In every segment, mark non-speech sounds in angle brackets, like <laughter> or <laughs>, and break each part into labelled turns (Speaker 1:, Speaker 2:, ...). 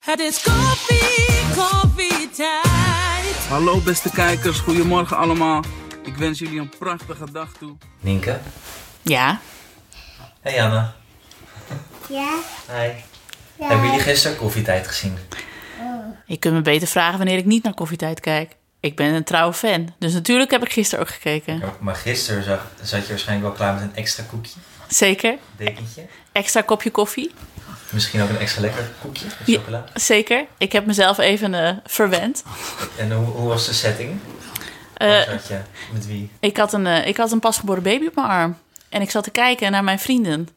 Speaker 1: Het is koffie, koffietijd.
Speaker 2: Hallo beste kijkers, goedemorgen allemaal. Ik wens jullie een prachtige dag toe.
Speaker 3: Nienke?
Speaker 1: Ja,
Speaker 3: Hey Anne.
Speaker 4: Ja,
Speaker 3: Hi. Hebben jullie gisteren koffietijd gezien?
Speaker 1: je kunt me beter vragen wanneer ik niet naar koffietijd kijk. Ik ben een trouwe fan, dus natuurlijk heb ik gisteren ook gekeken.
Speaker 3: Ja, Maar gisteren zag, zat je waarschijnlijk wel klaar met een extra koekje,
Speaker 1: Zeker.
Speaker 3: dekentje.
Speaker 1: Extra kopje koffie.
Speaker 3: Misschien ook een extra lekker koekje of
Speaker 1: Ja.
Speaker 3: chocola.
Speaker 1: Zeker. Ik heb mezelf even eh, verwend.
Speaker 3: En hoe, hoe was de setting?
Speaker 1: Eh,
Speaker 3: Waar zat je? Met wie?
Speaker 1: ik, had een, eh, ik had een pasgeboren baby op mijn arm. En ik zat te kijken naar mijn vrienden.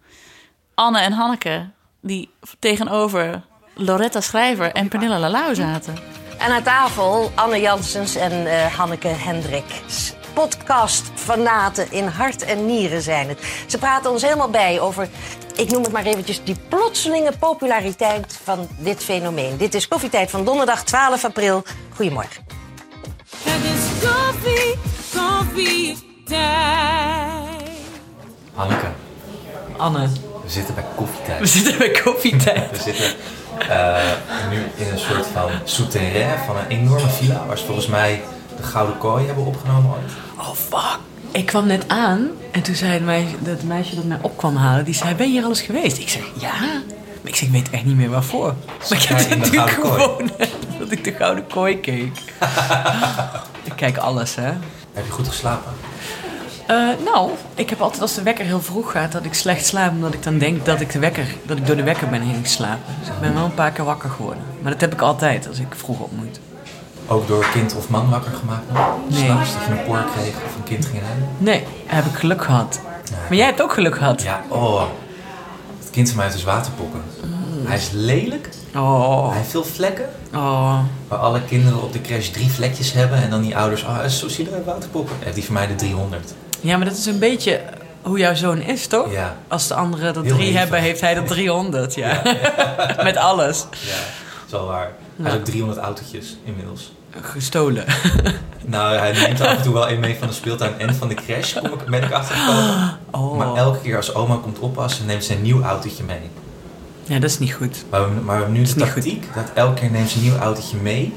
Speaker 1: Anne en Hanneke, die tegenover Loretta Schrijver en Pernilla Lalau zaten.
Speaker 5: En aan tafel Anne Janssens en eh, Hanneke Hendricks. Podcast-fanaten in hart en nieren zijn het. Ze praten ons helemaal bij over, ik noem het maar eventjes... die plotselinge populariteit van dit fenomeen. Dit is Koffietijd van donderdag 12 april. Goedemorgen.
Speaker 1: Het is koffie, koffietijd.
Speaker 3: Hanneke.
Speaker 6: Anne.
Speaker 3: We zitten bij
Speaker 6: We
Speaker 3: koffietijd.
Speaker 6: zitten bij koffietijd.
Speaker 3: We zitten eh, nu in een soort van souterrain van een enorme villa... waar ze volgens mij de Gouden Kooi hebben opgenomen ooit.
Speaker 6: Oh fuck. Ik kwam net aan en toen zei het meisje, dat meisje dat mij op kwam halen, die zei, ben je hier al eens geweest? Ik zeg, ja. Maar ik zeg, ik weet echt niet meer waarvoor. <laughs> Maar ik
Speaker 3: Zat jij
Speaker 6: heb
Speaker 3: in de
Speaker 6: natuurlijk
Speaker 3: gouden kooi?
Speaker 6: gewoon dat ik de gouden kooi keek. <laughs> ik kijk alles, hè.
Speaker 3: Heb je goed geslapen?
Speaker 6: Eh, nou, ik heb altijd als de wekker heel vroeg gaat dat ik slecht slaap, omdat ik dan denk dat ik, de wekker, dat ik door de wekker ben heen geslapen. Dus ik ben wel een paar keer wakker geworden. Maar dat heb ik altijd als ik vroeg op moet.
Speaker 3: Ook door kind of man wakker gemaakt nog?
Speaker 6: Nee.
Speaker 3: S'nachts dat je een poor kreeg of een kind ging huilen?
Speaker 6: Nee, heb ik geluk gehad. Maar jij hebt ook geluk gehad.
Speaker 3: Ja, oh. Het kind van mij heeft dus waterpokken. Hij is lelijk,
Speaker 6: Oh,
Speaker 3: hij heeft veel vlekken.
Speaker 6: oh.
Speaker 3: Waar alle kinderen op de crash drie vlekjes hebben en dan die ouders, ah, oh, zo zie je waterpokken. Heeft die van mij de 300.
Speaker 6: Ja, maar dat is een beetje hoe jouw zoon is, toch?
Speaker 3: Ja.
Speaker 6: Als de anderen dat
Speaker 3: Heel
Speaker 6: drie
Speaker 3: hevig.
Speaker 6: hebben, heeft hij dat 300, ja. <laughs> Met alles.
Speaker 3: Ja, dat is wel waar. Hij heeft ook 300 autootjes inmiddels.
Speaker 6: Gestolen.
Speaker 3: Nou, hij neemt af en toe wel een mee van de speeltuin en van de crash, kom ik, ben ik achtergekomen.
Speaker 6: Oh.
Speaker 3: Maar elke keer als oma komt oppassen, neemt ze een nieuw autootje mee.
Speaker 6: Ja, dat is niet goed.
Speaker 3: Maar we, maar we hebben nu de
Speaker 6: is niet goed.
Speaker 3: tactiek dat elke keer neemt ze een nieuw autootje mee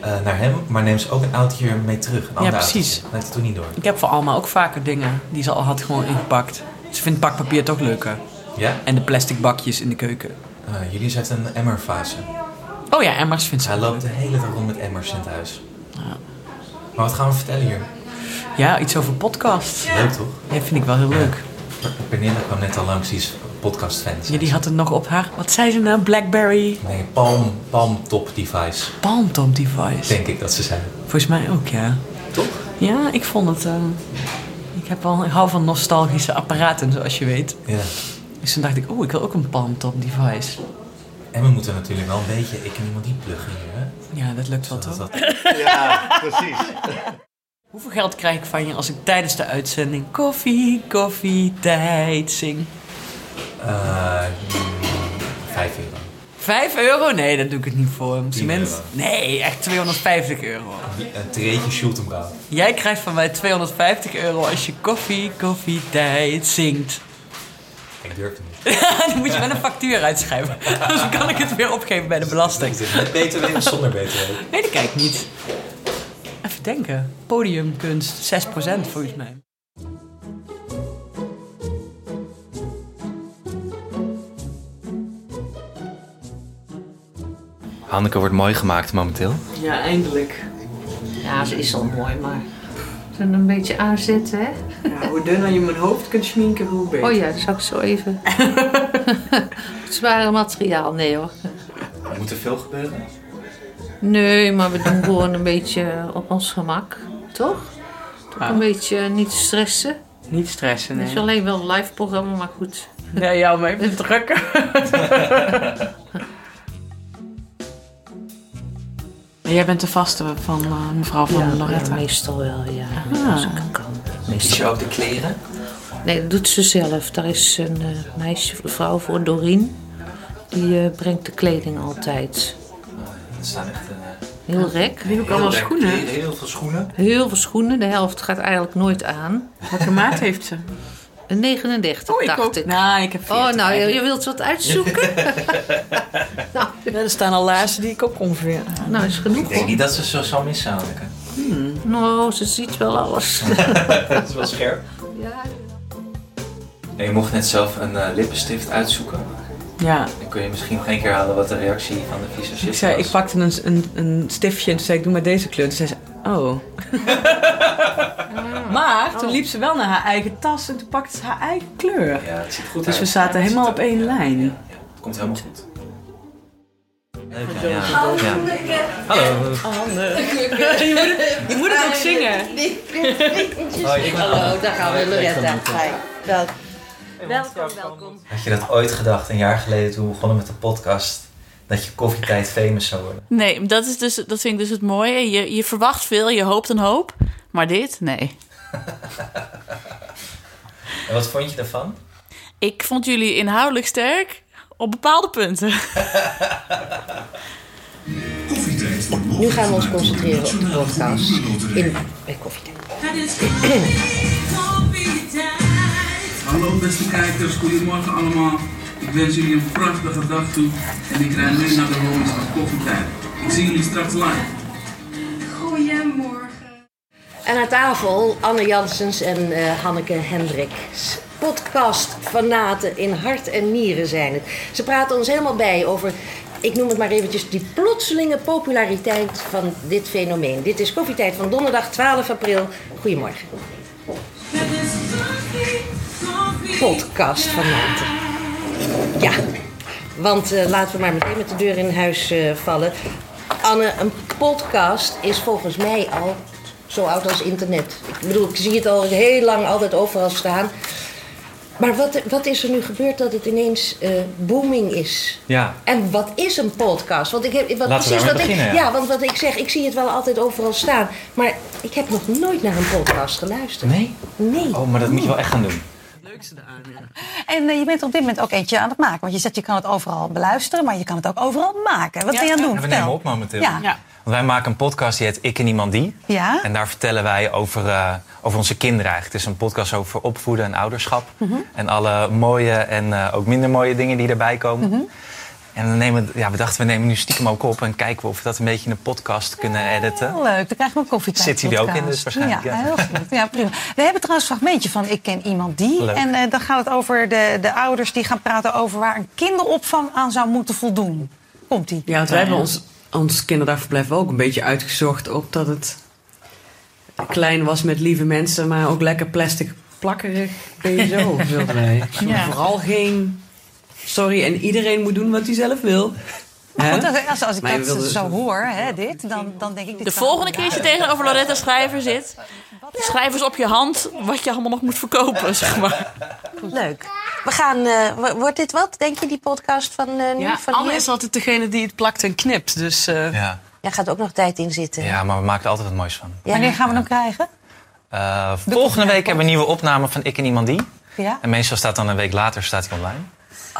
Speaker 3: eh, naar hem, maar neemt ze ook een autootje weer mee terug. Een ander
Speaker 6: precies.
Speaker 3: autootje. Dat heeft het toen niet door.
Speaker 6: Ik heb voor Alma ook vaker dingen die ze al had gewoon ingepakt. Ze vindt pakpapier toch leuker.
Speaker 3: Ja?
Speaker 6: En de plastic bakjes in de keuken.
Speaker 3: Eh, jullie zetten een emmerfase.
Speaker 6: Oh ja, emmers vindt ze
Speaker 3: Zij
Speaker 6: ook
Speaker 3: loopt
Speaker 6: leuk.
Speaker 3: de hele dag rond met emmers in het huis. Maar wat gaan we vertellen hier?
Speaker 6: Ja, iets over podcasts.
Speaker 3: Leuk toch?
Speaker 6: Ja, vind ik wel heel leuk.
Speaker 3: Pernilla kwam net al langs, die is podcastfan.
Speaker 6: Ja, die had het nog op haar... Wat zei ze nou? Blackberry
Speaker 3: Nee, palm, palm top device.
Speaker 6: Palmtop device.
Speaker 3: Denk ik dat ze zijn.
Speaker 6: Volgens mij ook, ja.
Speaker 3: Toch?
Speaker 6: Ja, ik vond het. ehm, ik, heb wel, ik hou van nostalgische apparaten, zoals je weet.
Speaker 3: Ja.
Speaker 6: Dus toen dacht ik, oh, ik wil ook een palmtop device.
Speaker 3: En we moeten natuurlijk wel een beetje ik en iemand die pluggen hier. Hè?
Speaker 6: Ja, dat lukt wel toch?
Speaker 3: dat,
Speaker 7: Ja, precies.
Speaker 6: Hoeveel geld krijg ik van je als ik tijdens de uitzending koffie, koffie, tijd zing?
Speaker 3: eh, mm, vijf euro.
Speaker 6: Vijf euro? Nee, daar doe ik het niet voor.
Speaker 3: Tien
Speaker 6: Mensen,
Speaker 3: euro.
Speaker 6: nee, echt 250 euro.
Speaker 3: Een treetje Schultenbrouw.
Speaker 6: Jij krijgt van mij 250 euro als je koffie, koffie, tijd zingt. <laughs>
Speaker 3: Ik durf het niet.
Speaker 6: Dan moet je wel een factuur uitschrijven. <laughs> Dus Dan kan ik het weer opgeven bij de belasting.
Speaker 3: Is het met BTW of zonder BTW?
Speaker 6: Nee, die kijk niet. Even denken. Podiumkunst, 6% volgens mij.
Speaker 3: Hanneke wordt mooi gemaakt momenteel.
Speaker 6: Ja, eindelijk.
Speaker 5: Ja, ze is al mooi, maar...
Speaker 8: Zullen we een beetje aanzetten, hè?
Speaker 6: hoe dunner je mijn hoofd kunt schminken, hoe beter.
Speaker 8: Oh ja, dat zag ik zo
Speaker 6: <laughs>
Speaker 8: even. Zware materiaal, nee hoor.
Speaker 3: Moet er veel gebeuren?
Speaker 8: Nee, maar we doen gewoon een beetje eh, op ons gemak, toch? Toch
Speaker 6: Ah.
Speaker 8: een beetje eh, niet stressen.
Speaker 6: Niet stressen,
Speaker 8: Het is alleen wel een live programma, maar goed.
Speaker 6: Nee, jou maar even drukken. Jij bent de vaste van eh, mevrouw van Loretta. Ah.
Speaker 8: meestal wel, ja. Als ik kan.
Speaker 3: Is je ook de kleren?
Speaker 8: Nee, dat doet ze zelf. Daar is een eh, meisje, vrouw voor Dorien. Die eh, brengt de kleding altijd.
Speaker 3: Er staan echt eh,
Speaker 8: Heel rek.
Speaker 6: Die heb ik allemaal
Speaker 3: heel
Speaker 6: schoenen.
Speaker 3: veel kleren, heel veel schoenen.
Speaker 8: Heel veel schoenen. De helft gaat eigenlijk nooit aan.
Speaker 6: Welke maat heeft ze?
Speaker 8: Eh, 39,
Speaker 6: Oh, ik
Speaker 8: dacht
Speaker 6: ook.
Speaker 8: ik.
Speaker 6: Nou, ik heb
Speaker 8: Oh,
Speaker 6: 40
Speaker 8: nou, je,
Speaker 6: eigenlijk.
Speaker 8: je wilt wat
Speaker 6: <laughs>
Speaker 8: uitzoeken? nou,
Speaker 6: Ja, er staan al laarzen die ik ook ongeveer.
Speaker 8: nou, is
Speaker 3: Ik
Speaker 8: genoeg.
Speaker 3: denk
Speaker 8: hoor.
Speaker 3: niet dat ze zo zal missen, Hanneke.
Speaker 8: Nou, ze ziet wel alles.
Speaker 3: Dat is wel scherp.
Speaker 8: ja.
Speaker 3: En je mocht net zelf een eh, lippenstift uitzoeken.
Speaker 6: Ja,
Speaker 3: Dan kun je misschien nog één keer halen wat de reactie van de visagist
Speaker 6: ik, zei,
Speaker 3: was.
Speaker 6: ik pakte een, een, een stiftje en toen zei ik, doe maar deze kleur. Toen zei ze, oh.
Speaker 8: <laughs>
Speaker 6: maar
Speaker 8: Oh.
Speaker 6: toen liep ze wel naar haar eigen tas en toen pakte ze haar eigen kleur.
Speaker 3: Ja, het ziet goed
Speaker 6: Dus
Speaker 3: uit.
Speaker 6: we zaten
Speaker 3: Het ziet
Speaker 6: helemaal
Speaker 3: er-
Speaker 6: op één
Speaker 3: ja,
Speaker 6: lijn.
Speaker 3: Ja, ja. Het komt helemaal goed. Leuk, ja, ja. Ja. Hallo.
Speaker 6: Je moet het ook zingen.
Speaker 3: Oh,
Speaker 5: Hallo, daar gaan Nou, we, Loretta. Hi. Welkom. Welkom, welkom.
Speaker 3: Had je dat ooit gedacht, een jaar geleden toen we begonnen met de podcast, dat je koffietijd famous zou worden?
Speaker 1: Nee, dat, is dus, dat vind ik dus het mooie. Je, je verwacht veel, je hoopt een hoop. Maar dit, nee.
Speaker 3: En wat vond je daarvan?
Speaker 1: Ik vond jullie inhoudelijk sterk op bepaalde punten.
Speaker 5: Nu gaan we ons concentreren op de podcast. In, bij koffietijd.
Speaker 2: Hallo beste kijkers, goedemorgen allemaal. Ik wens jullie een prachtige dag toe en ik rij nu naar de homies van koffietijd. Ik zie jullie straks live.
Speaker 5: En aan tafel Anne Janssens en eh, Hanneke Hendricks. Podcast fanaten in hart en nieren zijn het. Ze praten ons helemaal bij over, ik noem het maar eventjes, die plotselinge populariteit van dit fenomeen. Dit is Koffietijd van donderdag 12 april. Goedemorgen. Podcast fanaten. Ja, want eh, laten we maar meteen met de deur in huis eh, vallen. Anne, een podcast is volgens mij al zo oud als internet. Ik bedoel, ik zie het al heel lang altijd overal staan. Maar wat, wat is er nu gebeurd dat het ineens eh, booming is?
Speaker 3: Ja.
Speaker 5: En wat is een podcast? Want ik heb
Speaker 3: Laten
Speaker 5: wat,
Speaker 3: we
Speaker 5: precies
Speaker 3: daarmee
Speaker 5: wat
Speaker 3: beginnen,
Speaker 5: ik,
Speaker 3: ja.
Speaker 5: ja, want wat ik zeg, ik zie het wel altijd overal staan. Maar ik heb nog nooit naar een podcast geluisterd.
Speaker 3: Nee?
Speaker 5: Nee.
Speaker 3: Oh, maar dat moet je wel echt gaan doen.
Speaker 7: En eh, je bent er op dit moment ook eentje aan het maken. Want je zegt, je kan het overal beluisteren, maar je kan het ook overal maken. Wat ben je aan het doen?
Speaker 3: We
Speaker 7: Vertel.
Speaker 3: nemen op momenteel.
Speaker 7: Ja.
Speaker 3: Want wij maken een podcast die heet Ik en Iemand Die.
Speaker 7: Ja.
Speaker 3: En daar vertellen wij over, eh, over onze kinderen eigenlijk. Het is een podcast over opvoeden en ouderschap.
Speaker 7: Mhm.
Speaker 3: En alle mooie en eh, ook minder mooie dingen die erbij komen.
Speaker 7: Mhm.
Speaker 3: En dan nemen, ja, we dachten, we nemen nu stiekem ook op... en kijken we of we dat een beetje in een podcast kunnen editen.
Speaker 7: Heel leuk, dan krijgen we een koffietijd.
Speaker 3: Zit hij er ook in,
Speaker 7: podcast.
Speaker 3: dus waarschijnlijk,
Speaker 7: Ja,
Speaker 3: ja.
Speaker 7: heel goed. Ja, prima. We hebben trouwens een fragmentje van Ik ken iemand die.
Speaker 3: Leuk.
Speaker 7: En eh, dan gaat het over de, de ouders die gaan praten over waar een kinderopvang aan zou moeten voldoen. Komt-ie.
Speaker 6: Ja, want wij hebben ons, ons kinderdagverblijf ook een beetje uitgezocht op dat het klein was met lieve mensen, maar ook lekker plastic plakkerig <laughs> BSO wilden wij.
Speaker 1: Ja.
Speaker 6: Vooral geen sorry en iedereen moet doen wat hij zelf wil.
Speaker 7: Maar
Speaker 6: Hè?
Speaker 7: goed, als, als, als ik
Speaker 6: Maar je
Speaker 7: dat
Speaker 6: wilde
Speaker 7: zo
Speaker 6: dus-
Speaker 7: hoor, hè, dit, dan, dan denk ik... dit
Speaker 1: De
Speaker 7: kan-
Speaker 1: volgende keer als je tegenover Loretta Schrijver zit... schrijf eens op je hand wat je allemaal nog moet verkopen, <laughs> zeg maar.
Speaker 5: Leuk. We gaan, eh, wo- wordt dit wat, denk je, die podcast van eh, nu? van hier?
Speaker 6: altijd degene die het plakt en knipt. Dus
Speaker 3: Ja.
Speaker 5: Daar gaat ook nog tijd in zitten.
Speaker 3: ja, maar we maken er altijd wat moois van.
Speaker 5: Ja.
Speaker 7: Wanneer gaan we hem krijgen?
Speaker 3: Eh, volgende week hebben we een nieuwe opname van Ik en Iemand Die.
Speaker 7: Ja?
Speaker 3: En meestal staat dan een week later staat hij online.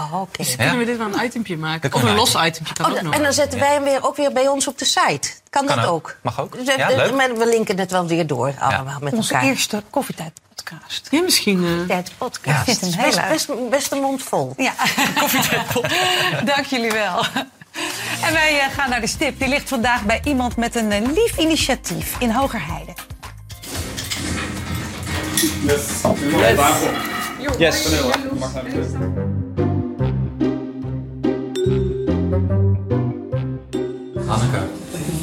Speaker 5: Oh, oké.
Speaker 3: Ja.
Speaker 6: dit wel een itempje
Speaker 3: Dat
Speaker 6: maken?
Speaker 3: kan Of een los
Speaker 6: itempje kan
Speaker 5: Oh, da- en dan zetten wij hem weer, ook weer bij ons op de site. Kan,
Speaker 3: Kan
Speaker 5: dat
Speaker 3: ook.
Speaker 5: ook?
Speaker 3: Mag ook.
Speaker 5: Dus,
Speaker 3: Ja,
Speaker 5: eh,
Speaker 3: leuk.
Speaker 5: maar We linken het wel weer door allemaal met
Speaker 7: Onze
Speaker 5: elkaar.
Speaker 7: eerste koffietijdpodcast.
Speaker 6: Ja, misschien. eh,
Speaker 5: Tijd
Speaker 7: Ik
Speaker 5: podcast.
Speaker 7: vind hem heel
Speaker 5: Best,
Speaker 7: leuk.
Speaker 5: best, best een mond vol.
Speaker 7: Ja, koffietafel. <laughs> Dank jullie wel. En wij eh, gaan naar de stip. Die ligt vandaag bij iemand met een eh, lief initiatief in Hogerheide.
Speaker 3: Hanneke,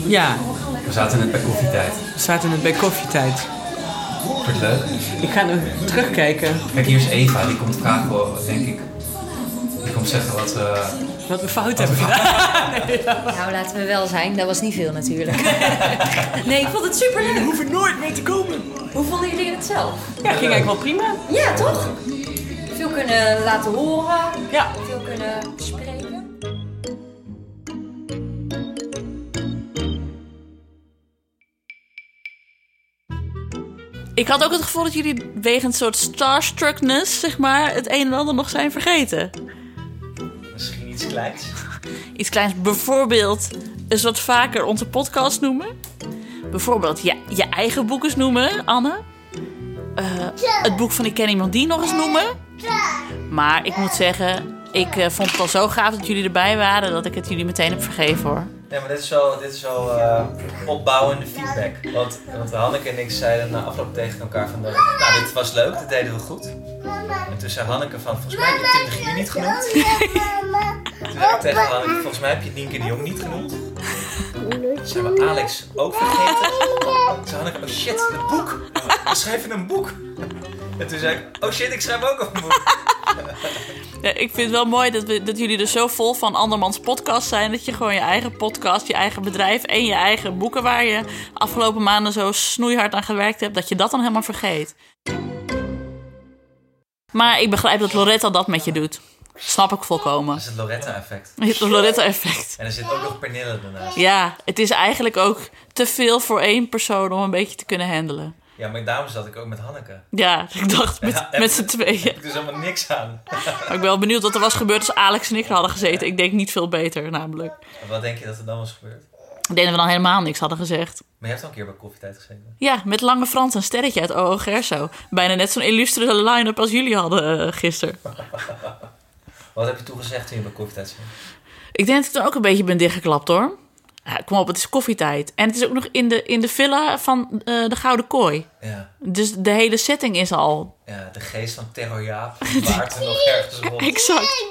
Speaker 6: ja,
Speaker 3: we zaten net bij koffietijd.
Speaker 6: we zaten net bij koffietijd.
Speaker 3: Wordt het leuk?
Speaker 6: Ik ga nu terugkijken
Speaker 3: Kijk, hier is Eva, die komt vragen, wel, denk ik. Die komt zeggen wat. eh,
Speaker 6: wat we fout hebben gedaan.
Speaker 9: Nou, laten we wel zijn. Dat was niet veel
Speaker 6: <laughs>
Speaker 9: natuurlijk. nee, ik vond het superleuk. Je hoeft er nooit mee te komen. Hoe vonden jullie het zelf?
Speaker 6: Ja, ging eigenlijk wel prima.
Speaker 9: Ja, toch? Veel kunnen laten horen.
Speaker 6: Ja.
Speaker 9: Veel kunnen spreken.
Speaker 1: Ik had ook het gevoel dat jullie wegens een soort starstruckness, zeg maar... het een en ander nog zijn vergeten.
Speaker 3: Misschien iets kleins.
Speaker 1: Iets kleins, bijvoorbeeld eens wat vaker onze podcast noemen. Bijvoorbeeld je, je eigen boekens noemen, Anne. eh, het boek van Ik ken iemand die nog eens noemen. Maar ik moet zeggen, ik eh, vond het al zo gaaf dat jullie erbij waren... dat ik het jullie meteen heb vergeven, hoor.
Speaker 3: Nee, maar dit is wel, dit is wel eh, opbouwende feedback. Want, want Hanneke en ik zeiden na afloop tegen elkaar van... Nou, dit was leuk, dit deden we goed. En toen zei Hanneke van... Volgens mij heb je Tim de Gier niet genoemd. Toen zei ik tegen Hanneke... Volgens mij heb je Nienke de Jong niet genoemd. Toen zijn we Alex ook vergeten. Toen zei Hanneke... Oh shit, het boek. We schrijven een boek. En toen zei ik... Oh shit, ik schrijf ook een boek.
Speaker 1: Ja, ik vind het wel mooi dat, we, dat jullie er zo vol van andermans podcast zijn... dat je gewoon je eigen podcast, je eigen bedrijf en je eigen boeken... waar je afgelopen maanden zo snoeihard aan gewerkt hebt... dat je dat dan helemaal vergeet. Maar ik begrijp dat Loretta dat met je doet. Snap ik volkomen.
Speaker 3: Dat is het Loretta-effect.
Speaker 1: Het Loretta-effect.
Speaker 3: En er zit ook nog Pernille daarnaast.
Speaker 1: Ja, het is eigenlijk ook te veel voor één persoon om een beetje te kunnen handelen.
Speaker 3: Ja, maar daarom zat ik ook met Hanneke.
Speaker 1: Ja, ik dacht met,
Speaker 3: Ja,
Speaker 1: met z'n tweeën.
Speaker 3: Heb ik dus helemaal niks aan.
Speaker 1: Maar ik ben wel benieuwd wat er was gebeurd als Alex en ik er hadden gezeten. Ik denk niet veel beter, namelijk.
Speaker 3: Wat denk je dat er dan was gebeurd?
Speaker 1: Ik denk dat we dan helemaal niks hadden gezegd.
Speaker 3: Maar je hebt al een keer bij koffietijd gezeten.
Speaker 1: Ja, met Lange Frans en Sterretje uit OO Gerso. Bijna net zo'n illustere line-up als jullie hadden eh, gisteren.
Speaker 3: Wat heb je toen gezegd toen je bij koffietijd zat?
Speaker 1: Ik denk dat ik dan ook een beetje ben dichtgeklapt hoor. Ja, kom op, het is koffietijd. En het is ook nog in de, in de villa van eh, de Gouden Kooi.
Speaker 3: Ja.
Speaker 1: Dus de hele setting is al
Speaker 3: ja, de geest van Terror Jaap waart er nog ergens rond.
Speaker 1: Exact.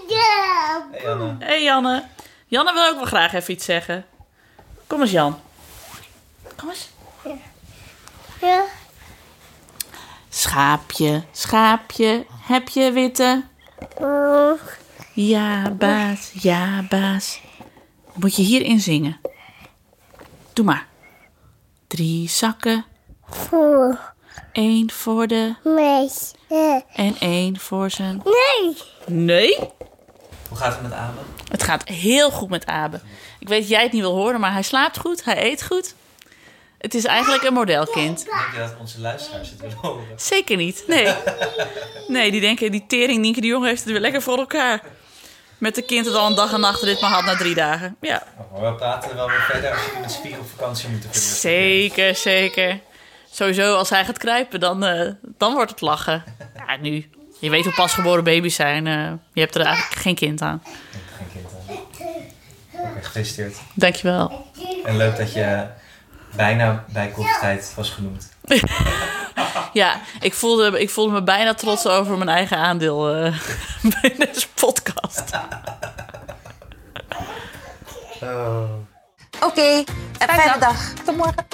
Speaker 3: Hey, Anne.
Speaker 1: hey Oh. Janne. Janne wil ook wel graag even iets zeggen. Kom eens Jan. Kom eens. Schaapje, schaapje, heb je witte? Ja, baas, ja, baas. Moet je hierin zingen? Doe maar. Drie zakken,
Speaker 4: Voor
Speaker 1: één voor de
Speaker 4: mij.
Speaker 1: en één voor zijn.
Speaker 4: Nee.
Speaker 1: Nee?
Speaker 3: Hoe gaat het met Abe?
Speaker 1: Het gaat heel goed met Abe. Ik weet dat jij het niet wil horen, maar hij slaapt goed, hij eet goed. Het is eigenlijk een modelkind.
Speaker 3: Denk je dat onze luisteraars het willen horen?
Speaker 1: Zeker niet, nee. Nee, die denken, die tering Nienke de Jong heeft het weer lekker voor elkaar. Met de kind dat al een dag en nacht dit maar had na drie dagen. Ja,
Speaker 3: Nou, Maar we praten er wel weer verder als jullie met Spiegel op vakantie moeten vinden.
Speaker 1: zeker, zeker. Sowieso, als hij gaat kruipen, dan, eh, dan wordt het lachen. Ja, nu. Je weet hoe pasgeboren baby's zijn. eh, je hebt er eigenlijk geen kind aan.
Speaker 3: Geen kind aan. Ook echt Gefeliciteerd.
Speaker 1: Dankjewel.
Speaker 3: En leuk dat je bijna bij koffietijd was genoemd.
Speaker 1: Ja, ik voelde, ik voelde me bijna trots over mijn eigen aandeel eh, <laughs> bij deze podcast.
Speaker 7: Oké, en fijne dag.
Speaker 10: Tot morgen.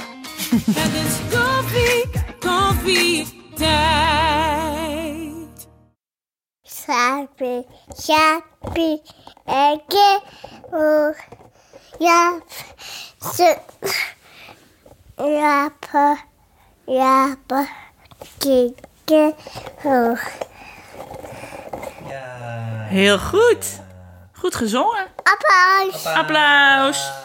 Speaker 11: Het is koffie, koffie tijd.
Speaker 4: Sapi, sapi, eke, oer, jap, ze, jap, jap, kikke, oer.
Speaker 1: Heel goed. Goed gezongen.
Speaker 4: Applaus.
Speaker 1: Applaus.